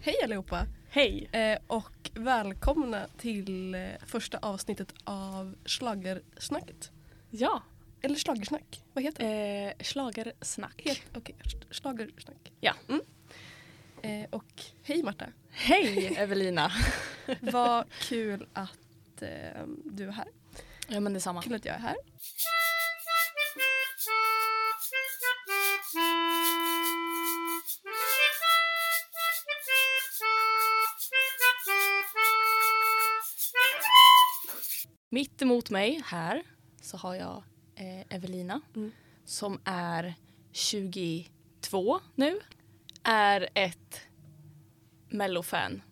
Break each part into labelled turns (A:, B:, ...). A: Hej allihopa
B: Hej!
A: eh, och välkomna till eh, första avsnittet av Schlagersnacket.
B: Ja,
A: Eller Schlagersnack, vad heter det?
B: eh, schlagersnack.
A: Het, Okej, sch- Schlagersnack.
B: Ja.
A: Mm. Eh, och hej Marta,
B: Hej Evelina!
A: vad kul att eh, du är här.
B: Ja men detsamma.
A: Kul att jag är här.
B: Mitt emot mig här så har jag eh, Evelina
A: Mm.
B: som är 22 nu. Är ett mellofan.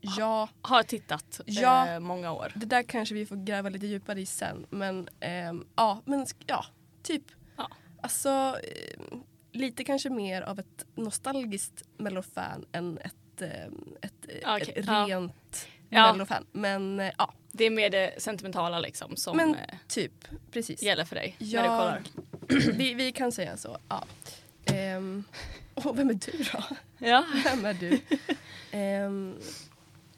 A: Ja,
B: Har tittat
A: Ja.
B: eh, många år.
A: det där kanske vi får gräva lite djupare i sen men ehm, ja, men sk- ja, typ.
B: Ja.
A: Alltså ehm, lite kanske mer av ett nostalgiskt mellofan än ett, ehm, ett, eh,
B: Okej,
A: ett
B: ja.
A: rent
B: Ja.
A: mellofan. Men eh, ja,
B: Det är mer det sentimentala liksom som
A: Men-
B: eh,
A: typ. Precis.
B: gäller för dig när du
A: Jag-
B: kollar.
A: Vi, vi kan säga så. Ja. Ehm, åh, vem är du då?
B: Ja.
A: Vem är du? Ehm,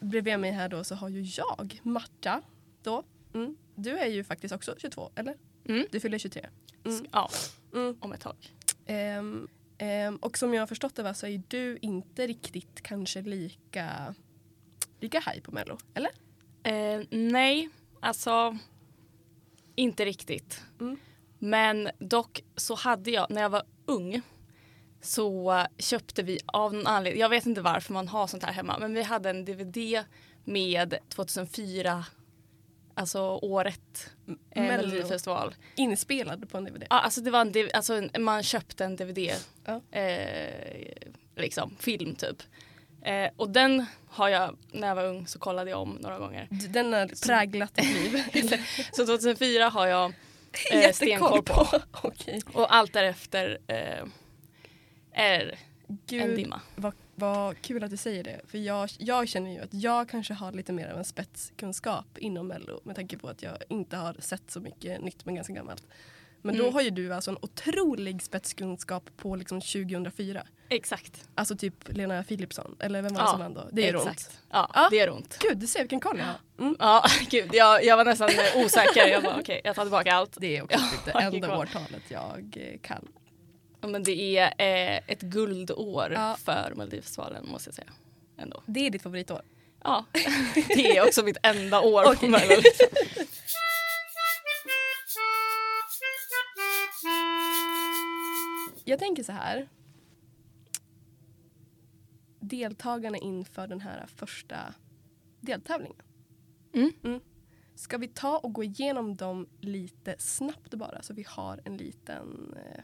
A: bredvid mig här då så har ju jag Marta. Då. Mm. Du är ju faktiskt också 22, eller?
B: Mm.
A: Du fyller 23. Mm.
B: ja,
A: Mm.
B: om ett tag.
A: Ehm, ehm, och som jag har förstått det va, så är du inte riktigt kanske lika, lika high på Mello, eller?
B: Eh, nej, alltså inte riktigt.
A: Mm.
B: Men dock så hade jag, när jag var ung så eh, köpte vi av någon anledning, jag vet inte varför man har sånt här hemma, men vi hade en DVD med 2004, alltså året, eh,
A: Mello.
B: Melodifestival.
A: Inspelad på en DVD.
B: Ja, alltså det var en, div- alltså en- man köpte en DVD.
A: Ja.
B: Eh, liksom, film typ. Eh, och den har jag, när jag var ung så kollade jag om några gånger.
A: D- Den har
B: liksom
A: präglat ditt liv.
B: Så 2004 har jag eh,
A: Jättekoll
B: stenkoll på.
A: Okej.
B: Och allt därefter eh, är en
A: Gud,
B: dimma.
A: vad, vad kul att du säger det. För jag, jag känner ju att jag kanske har lite mer av en spetskunskap inom Mello med tanke på att jag inte har sett så mycket nytt men ganska gammalt. Men då
B: Mm.
A: har ju du alltså en otrolig spetskunskap på liksom 2004.
B: Exakt.
A: Alltså typ Lena Philipsson, eller vem var det
B: Ja,
A: som vann då? Det är
B: Exakt.
A: runt.
B: Ja,
A: Ja.
B: det är runt.
A: Gud, du ser vilken koll jag har. Mm.
B: Ja, gud, jag, jag var nästan eh, osäker. Jag bara okej, jag tar tillbaka allt.
A: Det är också typ det
B: vilken
A: enda
B: koll.
A: årtalet jag eh, kan.
B: Ja, Men det är eh, ett guldår
A: Ja.
B: för Melodifestivalen måste jag säga. Ändå.
A: Det är ditt favoritår.
B: Ja, det är också mitt enda år
A: Okej.
B: på Mello. Liksom.
A: Jag tänker så här. Deltagarna inför den här första deltävlingen.
B: Mm.
A: Ska vi ta och gå igenom dem lite snabbt bara så vi har en liten eh,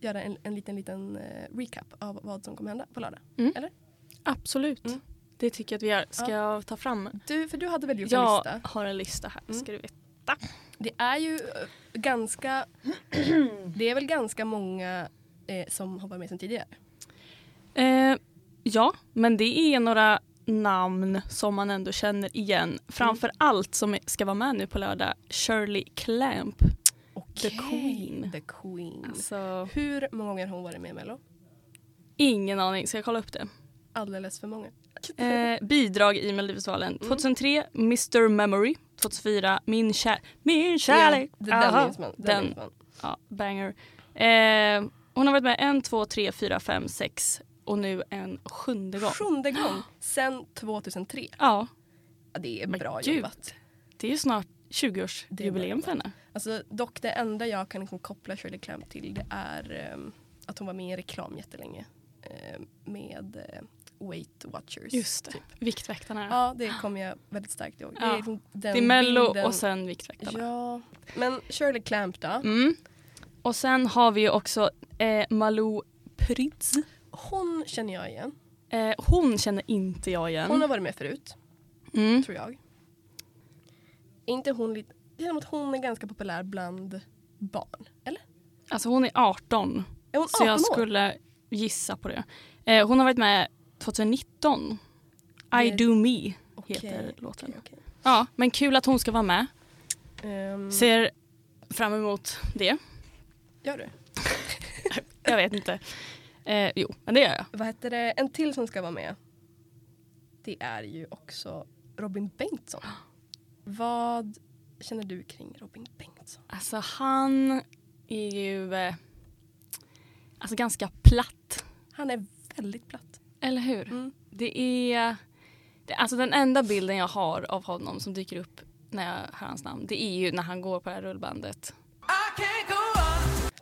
A: göra en, en liten liten eh, recap av vad som kommer hända på lördag.
B: Absolut.
A: Mm.
B: Det tycker jag att vi gör. Ska
A: Ja.
B: jag ta fram?
A: Du, för du hade väl gjort en
B: Jag
A: lista?
B: har en lista här.
A: Mm.
B: Ska du veta.
A: Det är ju eh, ganska Det är väl ganska många eh, som har varit med sedan tidigare.
B: Eh, ja, men det är några namn som man ändå känner
A: Mm.
B: igen. Framför allt som ska vara med nu på lördag, Shirley Clamp.
A: Okej.
B: Queen.
A: The Queen.
B: Alltså,
A: Hur många gånger har hon varit med i Mello?
B: ingen aning, ska jag kolla upp det?
A: Alldeles för många.
B: Eh, bidrag i
A: Mm.
B: Melodifestivalen. 2003, Mr Memory. 2004, Min, kär- min kärlek.
A: Ja, det- den
B: Aha.
A: minns man. Den,
B: Den.
A: Minns man.
B: Ja, banger. Eh, hon har varit med en, två, tre, fyra, fem, sex och nu en sjunde gång.
A: Sjunde gång sen 2003.
B: Ja,
A: Ja, det är
B: Men
A: bra
B: gud.
A: jobbat.
B: det är ju snart
A: Det är
B: 20-årsjubileum
A: bra
B: för henne.
A: Alltså, dock det enda jag kan liksom koppla Shirley Clamp till det är ehm, att hon var med i en reklam jättelänge ehm, med eh, Weight Watchers.
B: Just det, Viktväktarna.
A: typ. Ja, det kommer jag väldigt starkt ihåg.
B: Ja.
A: liksom den
B: det är Mello
A: bilden-
B: och sen Viktväktarna.
A: Ja, men Shirley Clamp då?
B: Mm. Och sen har vi ju också eh, Malou Prytz.
A: Hon känner jag igen.
B: Eh, hon känner inte jag igen.
A: Hon har varit med förut,
B: mm.
A: tror jag. Är inte hon lite... Det känns som att hon är ganska populär bland barn. Eller?
B: Alltså hon är 18
A: Är hon 18
B: så jag
A: år?
B: skulle gissa på det. Eh, hon har varit med 2019. I
A: Det-
B: Do Me
A: Okej,
B: heter låten.
A: okej, okej.
B: Ja, men kul att hon ska vara med.
A: Ehm,
B: Ser fram emot det.
A: Gör du?
B: Jag vet inte. Eh, jo, men det gör jag.
A: Vad heter det? En till som ska vara med. Det är ju också Robin Bengtsson. Vad känner du kring Robin Bengtsson?
B: Alltså han är ju eh, alltså ganska platt.
A: Han är väldigt platt.
B: Eller hur?
A: Mm.
B: Det är... Det, alltså den enda bilden jag har av honom som dyker upp när jag hör hans namn det är ju när han går på det här rullbandet.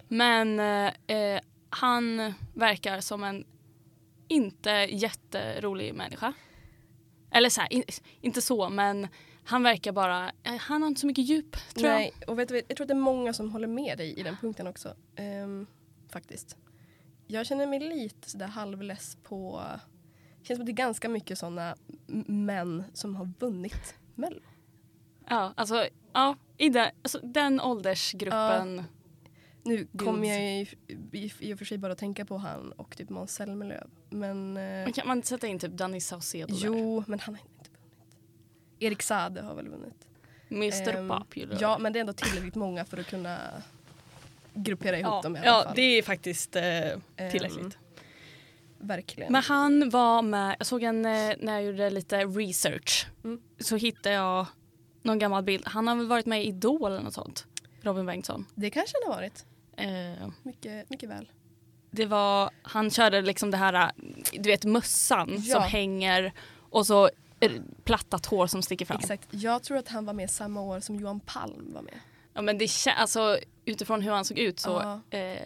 B: Men eh, eh, han verkar som en inte jätterolig människa. Eller så här, in, inte så men han verkar bara, eh, han har inte så mycket djup tror jag.
A: Nej, och vet du, vad, jag tror att det är många som håller med dig i den punkten också. ehm, faktiskt. Jag känner mig lite sådär halvless på... Det känns som att det är ganska mycket sådana m- män som har vunnit Mello.
B: Ja, alltså, ja, i den, alltså den åldersgruppen.
A: Nu kommer
B: Guds.
A: jag i, i, i och för sig bara att tänka på han och typ Måns Zelmerlöw. Men... eh,
B: Men Kan man inte sätta in typ Danny Saucedo där?
A: Jo, men han har inte vunnit. Erik Saade har väl vunnit.
B: Mr
A: Ehm,
B: Popular.
A: Ja, men det är ändå tillräckligt många för att kunna gruppera ihop
B: ja,
A: dem i alla
B: ja
A: fall. Ehm.
B: det är faktiskt eh, tillräckligt.
A: Verkligen.
B: Men han var med, jag såg en eh, när jag gjorde lite research
A: Mm.
B: så hittade jag någon gammal bild. Han har väl varit med i Idol eller något sånt. Robin Bengtsson.
A: Det kanske han har varit.
B: Eh,
A: Mycket, mycket väl.
B: det var, han körde liksom det här, eh, du vet mössan
A: Ja.
B: som hänger och så eh, plattat hår som sticker fram.
A: Exakt. Jag tror att han var med samma år som Johan Palm var med.
B: Ja men det kän- alltså utifrån hur han såg ut så
A: Ja.
B: eh,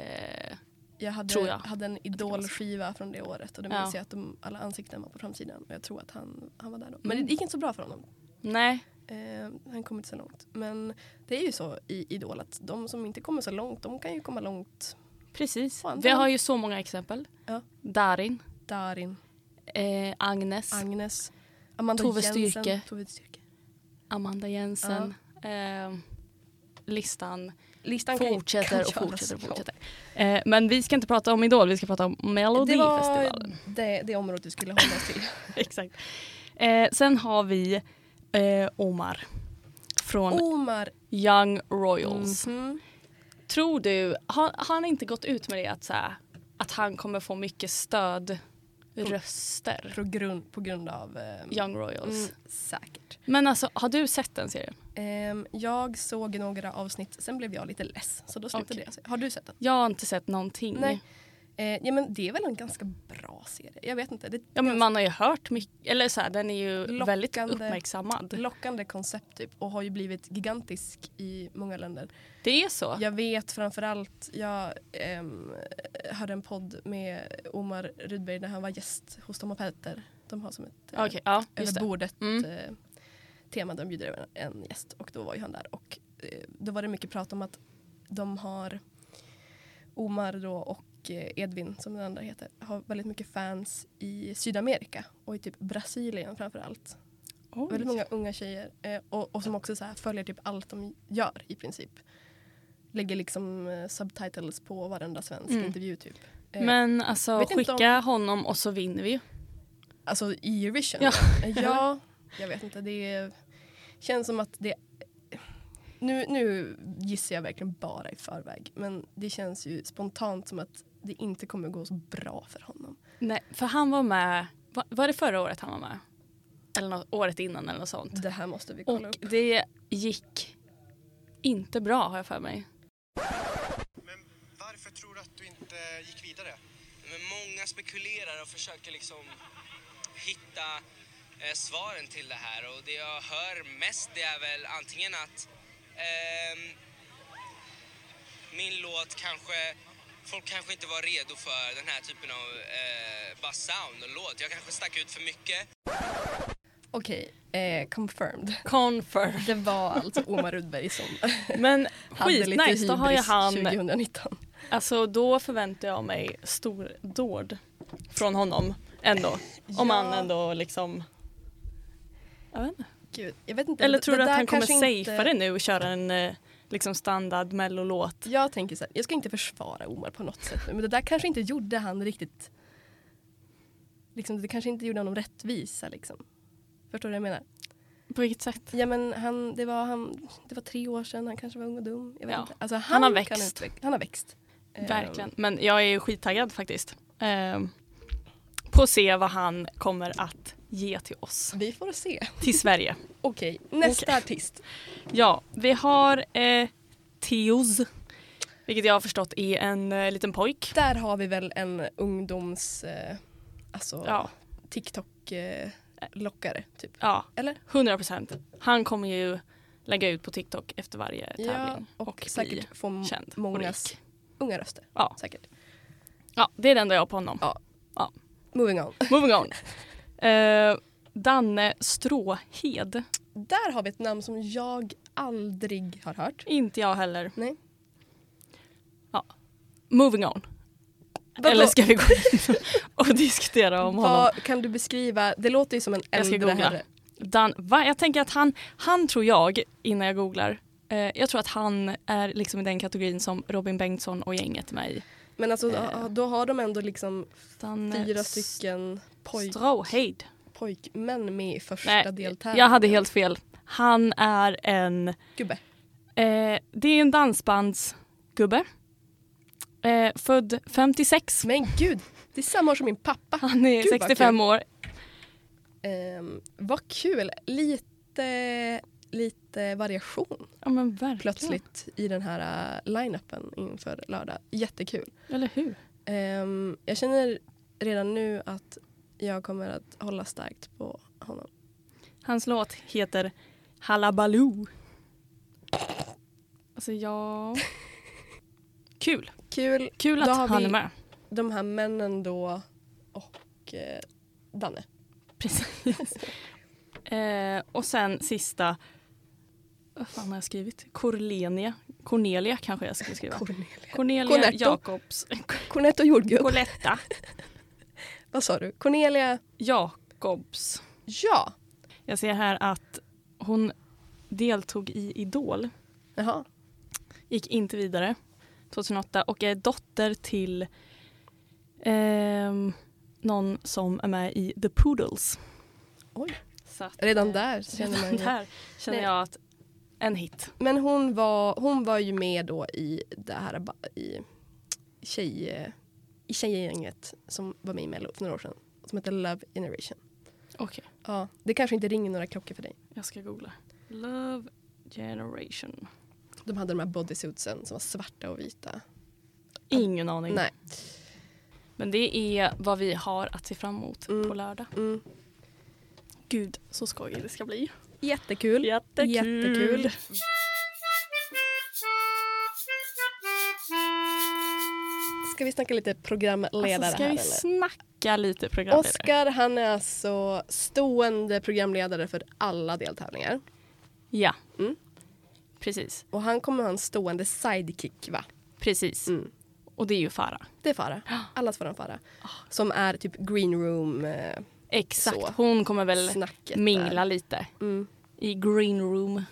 A: Jag hade,
B: Tror jag.
A: hade en idolskiva från det året och då
B: Ja.
A: minns jag att de, alla ansikten var på framsidan. Och jag tror att han, han var där då. Men
B: Mm.
A: det gick inte så bra för honom.
B: nej.
A: Eh, han kom inte så långt. Men det är ju så i Idol att de som inte kommer så långt de kan ju komma långt.
B: Precis.
A: Fan,
B: Vi
A: fan.
B: har ju så många exempel.
A: Ja.
B: Darin,
A: Darin,
B: eh, Agnes,
A: Agnes, Amanda
B: Tove
A: Jensen,
B: Styrke.
A: Tove Styrke.
B: Amanda Jensen. Eh, listan
A: Listan kan ju- kan
B: fortsätter och
A: göras
B: fortsätter och
A: lång.
B: fortsätter. Eh, men vi ska inte prata om Idol, vi ska prata om
A: Det var
B: Melodifestivalen.
A: det, det området du skulle hålla oss till.
B: Exakt. Eh, sen har vi eh, Omar från
A: Omar.
B: Young Royals.
A: Mhm.
B: Tror du, har, har han inte gått ut med det att, så här, att han kommer få mycket stöd, röster?
A: På grund, på grund av... ehm,
B: Young Royals.
A: mm, säkert.
B: Men alltså, har du sett den serien?
A: Ehm, jag såg några avsnitt, sen blev jag lite less. Så då slutade
B: Okej.
A: jag se. Har du sett den?
B: Jag har inte sett någonting.
A: Nej. Eh, ja, men det är väl en ganska bra serie. Jag vet inte. Det är ett
B: Ja, men man har ju hört mycket, eller så här, den är ju
A: Lockande.
B: väldigt uppmärksammad.
A: lockande koncept typ, och har ju blivit gigantisk i många länder.
B: Det är så?
A: Jag vet framförallt, jag ehm, hörde en podd med Omar Rudberg när han var gäst hos Tom och Peter. De har som ett eh,
B: Okej, ja just
A: över
B: det.
A: bordet
B: Mm.
A: eh, tema. De bjuder över en gäst och då var ju han där. Och eh, då var det mycket prat om att de har Omar då och eh, Edvin som den andra heter har väldigt mycket fans i Sydamerika och i typ Brasilien framförallt. Väldigt många unga tjejer eh, och, och som också så här följer typ allt de gör i princip. Lägger liksom eh, subtitles på varenda svensk
B: Mm.
A: intervju typ. Eh,
B: Men alltså
A: Vet inte om-
B: skicka honom och så vinner vi ju.
A: Alltså i Eurovision?
B: Ja.
A: ja, jag vet inte. Det känns som att det... Nu, nu gissar jag verkligen bara i förväg men det känns ju spontant som att det inte kommer gå så bra för honom.
B: Nej, för han var med, va- var det förra året han var med? Eller nå- året innan eller något sånt.
A: Det här måste vi
B: Och
A: kolla upp.
B: det gick inte bra har jag för mig.
C: Men varför tror du att du inte gick vidare?
D: Men många spekulerar och försöker liksom hitta eh, svaren till det här och det jag hör mest det är väl antingen att ehm, min låt kanske, folk kanske inte var redo för den här typen av eh, bara sound och låt. Jag kanske stack ut för mycket.
A: Okej, eh, confirmed.
B: Confirm.
A: Det var alltså Omar Rudberg som
B: Men
A: hade lite
B: skitnice, då har ju
A: hybris
B: han
A: 2019.
B: Alltså då förväntar jag mig stordåd från honom ändå. Om
A: Ja.
B: han ändå liksom... Jag vet inte.
A: Gud, jag vet inte.
B: Eller
A: det-
B: tror du
A: det
B: att
A: där
B: han kommer
A: kanske
B: safea
A: inte-
B: det nu och köra en eh, liksom standard mellolåt?
A: Jag tänker så här, jag ska inte försvara Omar på något sätt men det där kanske inte gjorde han riktigt liksom, det kanske inte gjorde honom rättvisa liksom. Förstår du vad jag menar?
B: På vilket sätt?
A: Ja men han, det var, han, det var tre år sedan, han kanske var ung och dum. Jag vet
B: Ja,
A: inte. Alltså, han,
B: har
A: kan
B: växt. Eh,
A: utveck- han har växt. Ehm,
B: Verkligen. Men jag är ju skittaggad faktiskt. ehm, på att se vad han kommer att ge till oss,
A: Vi får se.
B: till Sverige.
A: Okej, nästa artist.
B: Ja, vi har eh, Theoz, vilket jag har förstått är en eh, liten pojk.
A: Där har vi väl en ungdoms... Eh, alltså
B: Ja,
A: TikTok-lockare, typ.
B: ja,
A: Eller?
B: 100 procent. Han kommer ju lägga ut på TikTok efter varje tävling
A: och,
B: bli
A: säkert få m-
B: känd och
A: mångas
B: rik.
A: unga röster.
B: Ja.
A: Säkert.
B: Ja, det är det enda jag har på honom.
A: Ja.
B: Ja.
A: Moving on.
B: Moving on. Eh, Danne Stråhed.
A: Där har vi ett namn som jag aldrig har hört.
B: Inte jag heller.
A: Nej.
B: Moving on.
A: Vadå?
B: Eller ska vi gå in och diskutera om honom?
A: Vad kan du beskriva? Det låter ju som en
B: Jag ska
A: äldre
B: googla.
A: herre.
B: Dan, va? Jag tänker att han, han tror jag, innan jag googlar, eh, jag tror att han är liksom i den kategorin som Robin Bengtsson och gänget är med i.
A: Men alltså,
B: Eh.
A: ja, då har de ändå liksom
B: Danne
A: fyra stycken poj
B: Stråhed.
A: pojkmän med i första
B: Nej,
A: deltävlingen.
B: jag hade helt fel. Han är en
A: Gubbe.
B: Eh, det är en dansbandsgubbe. Eh, född 56.
A: Men gud, det är samma år som min pappa.
B: Han är
A: Gud, vad
B: 65 år.
A: Ehm, vad kul! Lite, lite variation
B: Ja men verkligen.
A: plötsligt i den här eh, line-upen inför lördag. Jättekul.
B: Eller hur?
A: Ehm, jag känner redan nu att jag kommer att hålla starkt på honom.
B: Hans låt heter Hallabaloo. Alltså ja... Kul.
A: Kul,
B: Kul
A: Då
B: att
A: har
B: han
A: vi-
B: är med.
A: de här männen då och eh, Danne.
B: Precis. eh, och sen sista. Vad fan har jag skrivit? Corlenia. Cornelia kanske jag skulle skriva.
A: Cornelia.
B: Cornelia
A: Cornetto.
B: Jacobs.
A: Cornetto jordgubb.
B: Coletta.
A: Vad sa du? Cornelia?
B: Jacobs.
A: Ja.
B: Jag ser här att hon deltog i Idol,
A: Jaha.
B: gick inte vidare 2008 och är dotter till ehm, någon som är med i The Poodles.
A: Oj.
B: Så att,
A: Redan
B: eh,
A: där känner man
B: redan
A: ju.
B: där känner
A: Nej.
B: jag att en hit.
A: Men hon var, hon var ju med då i det här ba- i, tjej, i tjejgänget som var med i Mello för några år sedan. Som heter Love Generation.
B: Okej,
A: Ja, det kanske inte ringer några klockor för dig.
B: jag ska googla. Love Generation.
A: De hade de här bodysuitsen som var svarta och vita.
B: Ingen aning.
A: Nej.
B: Men det är vad vi har att se fram emot
A: Mm.
B: på lördag.
A: Mm.
B: Gud, så skojigt det ska bli. Alltså,
A: Jättekul.
B: Jättekul.
A: Jättekul. Ska vi snacka lite programledare
B: Alltså, ska
A: här
B: vi
A: eller?
B: snacka lite programledare?
A: Oskar han är alltså stående programledare för alla deltävlingar.
B: Ja.
A: Mm.
B: Precis,
A: Och han kommer ha en stående sidekick va?
B: precis.
A: Mm.
B: Och det är ju Farah.
A: Det är Farah. Allas vår Farah.
B: Ah.
A: Som är typ green room eh,
B: Exakt.
A: Så.
B: Hon kommer väl
A: snacket.
B: mingla
A: där.
B: lite
A: Mm.
B: i green room.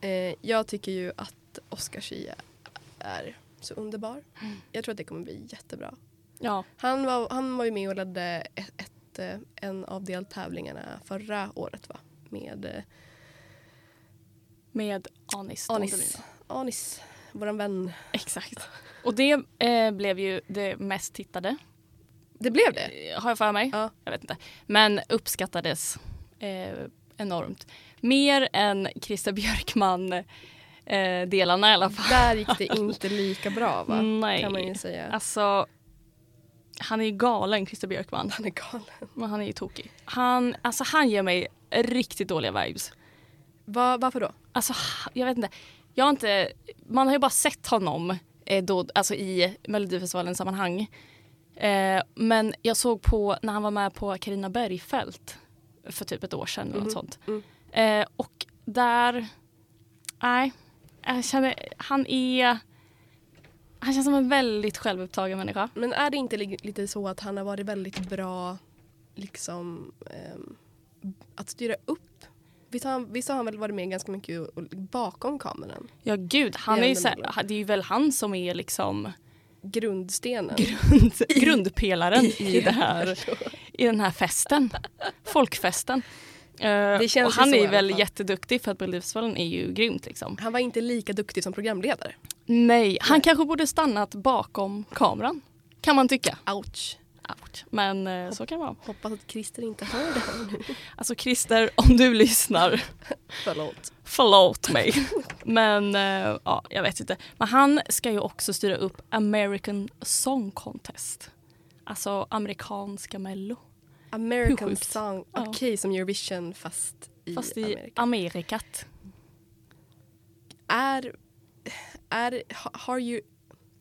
A: Eh, jag tycker ju att Oscar Schia är så underbar.
B: Mm.
A: Jag tror att det kommer bli jättebra.
B: Ja,
A: Han var, han var ju med och ledde ett, ett, eh, en av deltävlingarna förra året va? Med eh,
B: med Anis. Don
A: Anis.
B: Demina.
A: Anis, våran vän.
B: Exakt. Och det eh, blev ju det mest tittade,
A: Det blev det?
B: eh, har jag för mig.
A: Ja.
B: Jag vet inte. Men uppskattades eh, enormt. Mer än Christer Björkman-delarna i alla fall.
A: Där gick det inte lika bra va? Kan man ju
B: Mm, Nej.
A: säga.
B: Alltså, han är ju galen, Christer Björkman.
A: Han är galen.
B: Men han är ju tokig. Han, alltså han ger mig riktigt dåliga vibes.
A: Va, varför då?
B: Alltså ha- jag vet inte. Jag har inte man har ju bara sett honom eh, då, alltså i Melodifestivalen sammanhang. Eh, men jag såg på när han var med på Carina Bergfeldt för typ ett år sedan eller något sånt.
A: mm.
B: Eh, och där, nej, jag känner, han är, han känns som en väldigt självupptagen människa.
A: Men är det inte li- lite så att han har varit väldigt bra liksom ehm, att styra upp? Visst har, han, visst har han väl varit med ganska mycket och, och bakom kameran?
B: Ja gud, han är ju
A: Jävla
B: så
A: mellan.
B: här, det är ju väl han som är liksom
A: Grundstenen.
B: grund, grundpelaren i, det här, i den här festen. Folkfesten. Eh,
A: känns
B: och
A: ju
B: han
A: så i
B: är
A: alla
B: väl
A: fall.
B: jätteduktig för att Melodifestivalen är ju grymt liksom.
A: Han var inte lika duktig som programledare.
B: Nej, han kanske borde stannat bakom kameran. Kan man tycka.
A: Ouch.
B: Ouch. Men eh, så kan det vara.
A: Hoppas att Christer inte hör det här nu.
B: Alltså Christer, om du lyssnar,
A: Förlåt.
B: förlåt mig. Men eh, ja, jag vet inte. Men han ska ju också styra upp American Song Contest. Alltså amerikanska mello. Hur
A: American
B: sjukt?
A: song.
B: Ja.
A: Okej, som Eurovision fast i,
B: Fast i
A: Amerika.
B: Amerikat.
A: Är, är, ha- har ju...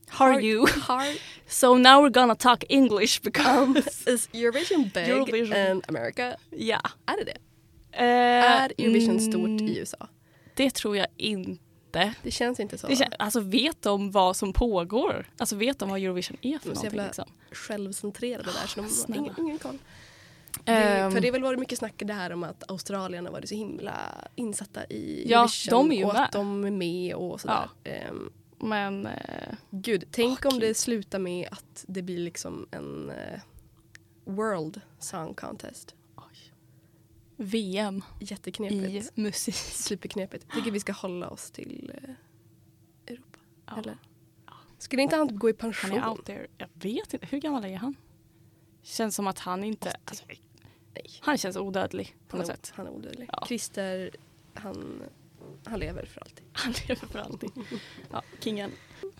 B: How are you?
A: Har,
B: So now we're gonna talk English
A: um,
B: because...
A: is Eurovision big
B: Eurovision.
A: in America?
B: ja.
A: Är det det?
B: Eh,
A: Är Eurovision stort
B: mm,
A: i USA?
B: Det tror jag inte.
A: Det känns inte så.
B: Det kän- alltså vet de vad som pågår? Alltså vet de vad Eurovision är för
A: De är så
B: någonting?
A: jävla
B: liksom?
A: självcentrerade där så de har
B: Ah, Snälla. Ehm.
A: ingen, ingen koll. Det, för det har väl varit mycket snack det här om att Australien har varit så himla insatta i
B: Ja,
A: Eurovision
B: de är ju
A: och
B: med.
A: att de är med och sådär. Ehm,
B: Men eh,
A: gud, tänk
B: Åh,
A: om det
B: gud.
A: slutar med att det blir liksom en eh, World Song Contest.
B: VM
A: Jätteknepigt.
B: i musik.
A: Superknepigt. Jag tycker vi ska hålla oss till eh, Europa.
B: Ja.
A: Eller? Skulle inte han gå i
B: Han
A: pension?
B: är out there. Jag vet inte, hur gammal är han? Känns som att han inte... Alltså,
A: Nej.
B: han känns odödlig på
A: Han är,
B: något sätt.
A: han är odödlig.
B: Ja.
A: Christer, han, han lever för alltid.
B: Han lever för alltid. Ja, kingen.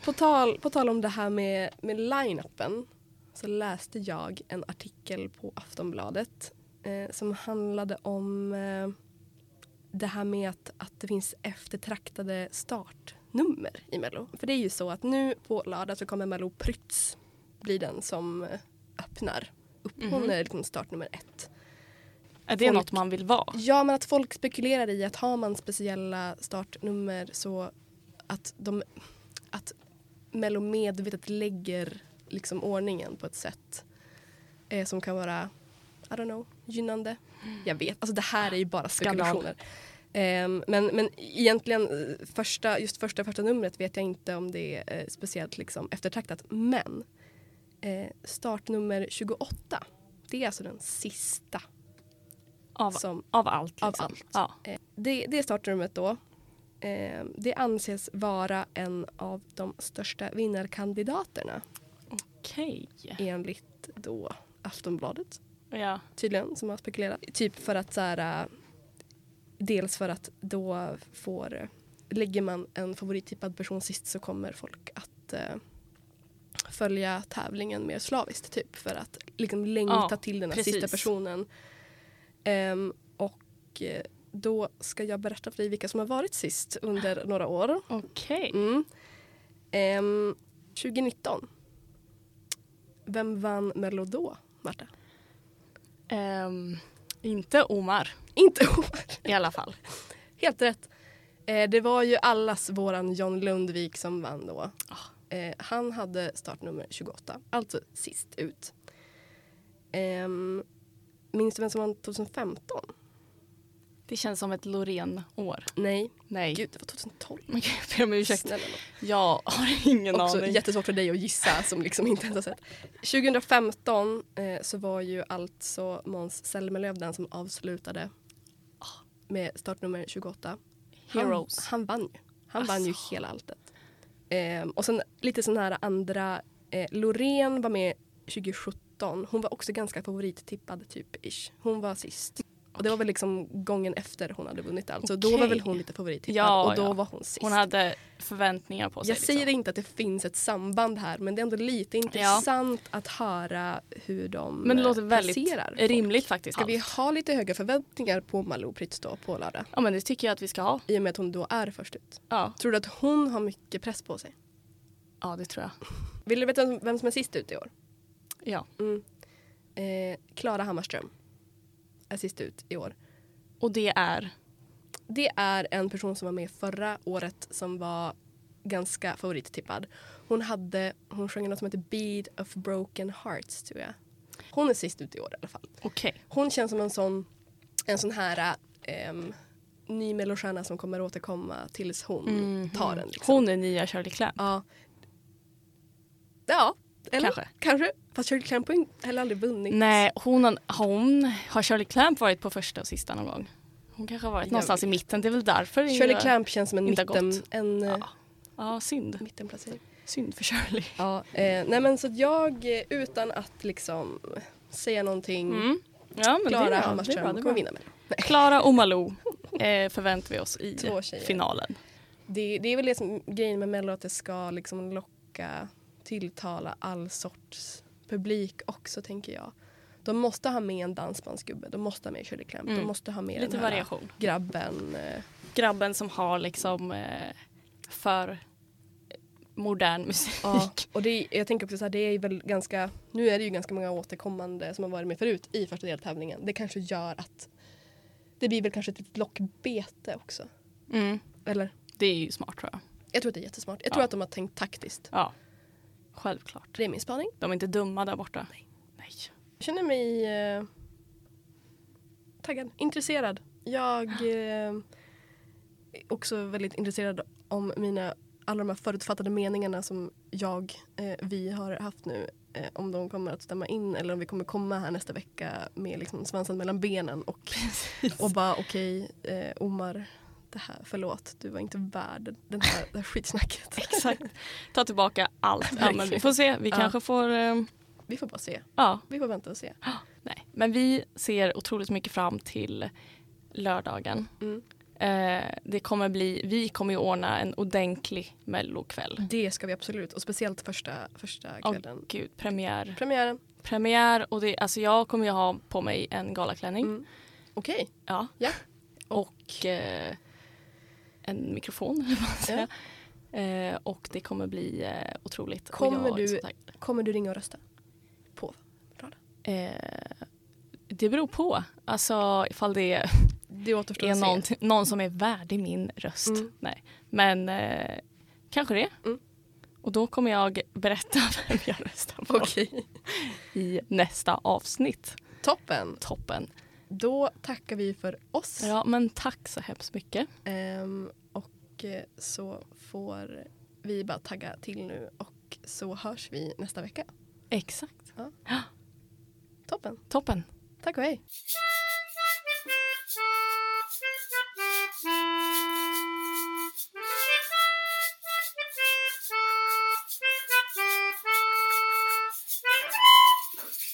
A: På tal, på tal om det här med, med line-upen så läste jag en artikel på Aftonbladet eh, som handlade om eh, det här med att, att det finns eftertraktade startnummer i Mello. För det är ju så att nu på lördag så kommer Mello Prytz bli den som eh, öppnar upp. Hon
B: Mhm.
A: är liksom startnummer ett.
B: Är det
A: Folk-
B: något man vill vara?
A: Ja, men att folk spekulerar i att har man speciella startnummer så att, de, att Mello medvetet lägger liksom ordningen på ett sätt eh, som kan vara, I don't know, gynnande. Jag vet, alltså det här är ju bara
B: Skandal.
A: spekulationer. Ehm, men, men egentligen, eh, första, just första, första numret vet jag inte om det är eh, speciellt liksom eftertraktat. Men eh, startnummer 28, det är alltså den sista
B: Av,
A: som
B: av allt liksom.
A: av allt.
B: Ja.
A: Eh, Det, det startrummet då. Eh, Det anses vara en av de största vinnarkandidaterna
B: Okej.
A: enligt då Aftonbladet
B: Ja.
A: tydligen som har spekulerat. Typ för att så här, eh, dels för att då får, eh, lägger man en favorittippad person sist så kommer folk att eh, följa tävlingen mer slaviskt typ för att liksom längta
B: Ja,
A: till den här
B: precis.
A: sista personen. Ehm, och eh, då ska jag berätta för dig vilka som har varit sist under några år.
B: Okej.
A: Mm. Ehm, 2019. Vem vann Mello då, Marta?
B: Ehm, inte Omar
A: Inte Omar.
B: i alla fall.
A: Helt rätt. Eh, det var ju allas våran John Lundvik som vann då. Eh, han hade startnummer 28, alltså sist ut. Ehm, minns du vem som vann 2015?
B: Det känns som ett Loreen-år.
A: Nej,
B: Nej.
A: gud det var 2012.
B: Man kan jag be om ursäkt.
A: Snälla nån.
B: Jag har ingen
A: Också
B: aning.
A: jättesvårt för dig att gissa som liksom inte ens har sett. 2015 eh, så var ju alltså Måns Zelmerlöw den som avslutade ah, med startnummer 28. Han,
B: Heroes.
A: han vann ju. Han vann ju hela alltet. Ehm, och sen lite sådana här andra. Eh, Loreen var med 2017. Hon var också ganska favorittippad typ ish. Hon var sist. Och det var väl liksom gången efter hon hade vunnit allt. Så då var
B: Okej.
A: väl hon lite favorittippad
B: Ja,
A: och då
B: ja.
A: var hon sist.
B: Hon hade förväntningar på sig. liksom.
A: Jag säger inte att det finns ett samband här men det är ändå lite intressant att höra hur de
B: Men det
A: eh,
B: låter väldigt
A: placerar folk.
B: rimligt faktiskt.
A: Ska vi
B: allt.
A: ha lite höga förväntningar på Malou Prytz då på lördag?
B: Ja men det tycker jag att vi ska ha.
A: I och med att hon då är först ut.
B: Ja,
A: Tror du att hon har mycket press på sig?
B: ja det tror jag.
A: Vill du veta vem som är sist ut i år?
B: Ja.
A: Mm. Eh, Klara Hammarström är sist ut i år.
B: Och det är
A: Det är en person som var med förra året som var ganska favorittippad. Hon, hade, hon sjöng något som heter Beat of Broken Hearts tror jag. Hon är sist ut i år i alla fall.
B: okej.
A: Hon känns som en sån, en sån här ehm, ny mellostjärna som kommer återkomma tills hon tar den. Liksom.
B: Mhm. Hon är nya Shirley Clamp.
A: Ja. Ja, eller
B: Kanske.
A: kanske. Fast Shirley Clamp har ju heller aldrig vunnit.
B: Nej, hon, har- hon har Shirley Clamp varit på första och sista någon gång. Hon kanske har varit
A: Jag
B: någonstans i mitten. Det är väl därför. det-
A: Shirley Clamp känns som en,
B: Inte
A: mitten,
B: gott.
A: en eh,
B: Ja, synd.
A: mittenplacering.
B: Synd för Shirley.
A: Ja, eh, nej men så att jag eh, utan att liksom säga någonting,
B: Mm. Ja,
A: Klara
B: men det är bra. Det är bra,
A: Hammarström
B: det är
A: kommer
B: bra.
A: vinna med det.
B: Klara och Malou eh, förväntar vi oss i
A: Två tjejer.
B: finalen.
A: det. Det är väl det som grejen med Mello, att det ska liksom locka, tilltala all sorts publik också tänker jag. De måste ha med en dansbandsgubbe, de måste ha med Shirley Clamp,
B: Mm.
A: de måste ha med
B: Lite
A: den här
B: variation.
A: grabben. eh,
B: Grabben som har liksom eh, för modern musik.
A: Ja, och det, är- jag tänker också så här, det är väl ganska, nu är det ju ganska många återkommande som har varit med förut i första deltävlingen. Det kanske gör att det blir väl kanske ett litet lockbete också.
B: Mm.
A: Eller?
B: Det är ju smart tror jag.
A: Jag tror att det är jättesmart. Jag tror
B: Ja.
A: att de har tänkt taktiskt.
B: Ja, självklart.
A: Det är min spaning.
B: De är inte dumma där borta. Nej.
A: Jag känner mig eh, taggad, intresserad. Jag eh, är också väldigt intresserad om mina, alla de här förutfattade meningarna som jag, eh, vi har haft nu. Eh, om de kommer att stämma in eller om vi kommer komma här nästa vecka med liksom svansen mellan benen och, och bara okej eh, Omar, det här, förlåt du var inte värd den här, det här skitsnacket.
B: Exakt. Ta tillbaka allt. Ja, men vi får se. Vi
A: Ja.
B: kanske får... ehm,
A: Vi får bara se,
B: ja,
A: vi får vänta och se.
B: nej. Men vi ser otroligt mycket fram till lördagen.
A: Mm.
B: Eh, det kommer bli, vi kommer ju ordna en ordentlig mellokväll.
A: Det ska vi absolut och speciellt första, första
B: Åh,
A: kvällen.
B: gud, premiär.
A: Premiären.
B: Premiär och det, alltså jag kommer ju ha på mig en galaklänning.
A: Mm. Okej.
B: Ja.
A: Ja.
B: Och eh, en mikrofon, eller vad man säger. Eh, och det kommer bli eh, otroligt. Och
A: Kommer
B: jag är
A: du-
B: så taggad.
A: Kommer du ringa och rösta? På?
B: Eh, det beror på. Alltså ifall det är
A: Det återstår
B: är
A: att se.
B: någon, någon som är värdig min röst.
A: Mm.
B: Nej. Men eh, kanske det.
A: Mm.
B: Och då kommer jag berätta vem jag röstar på
A: Okej.
B: i nästa avsnitt.
A: Toppen.
B: Toppen.
A: Då tackar vi för oss.
B: Ja, men tack så hemskt mycket.
A: Ehm, och eh, så får vi bara tagga till nu och så hörs vi nästa vecka.
B: Exakt.
A: Toppen.
B: Toppen.
A: Tack och hej.
E: Thank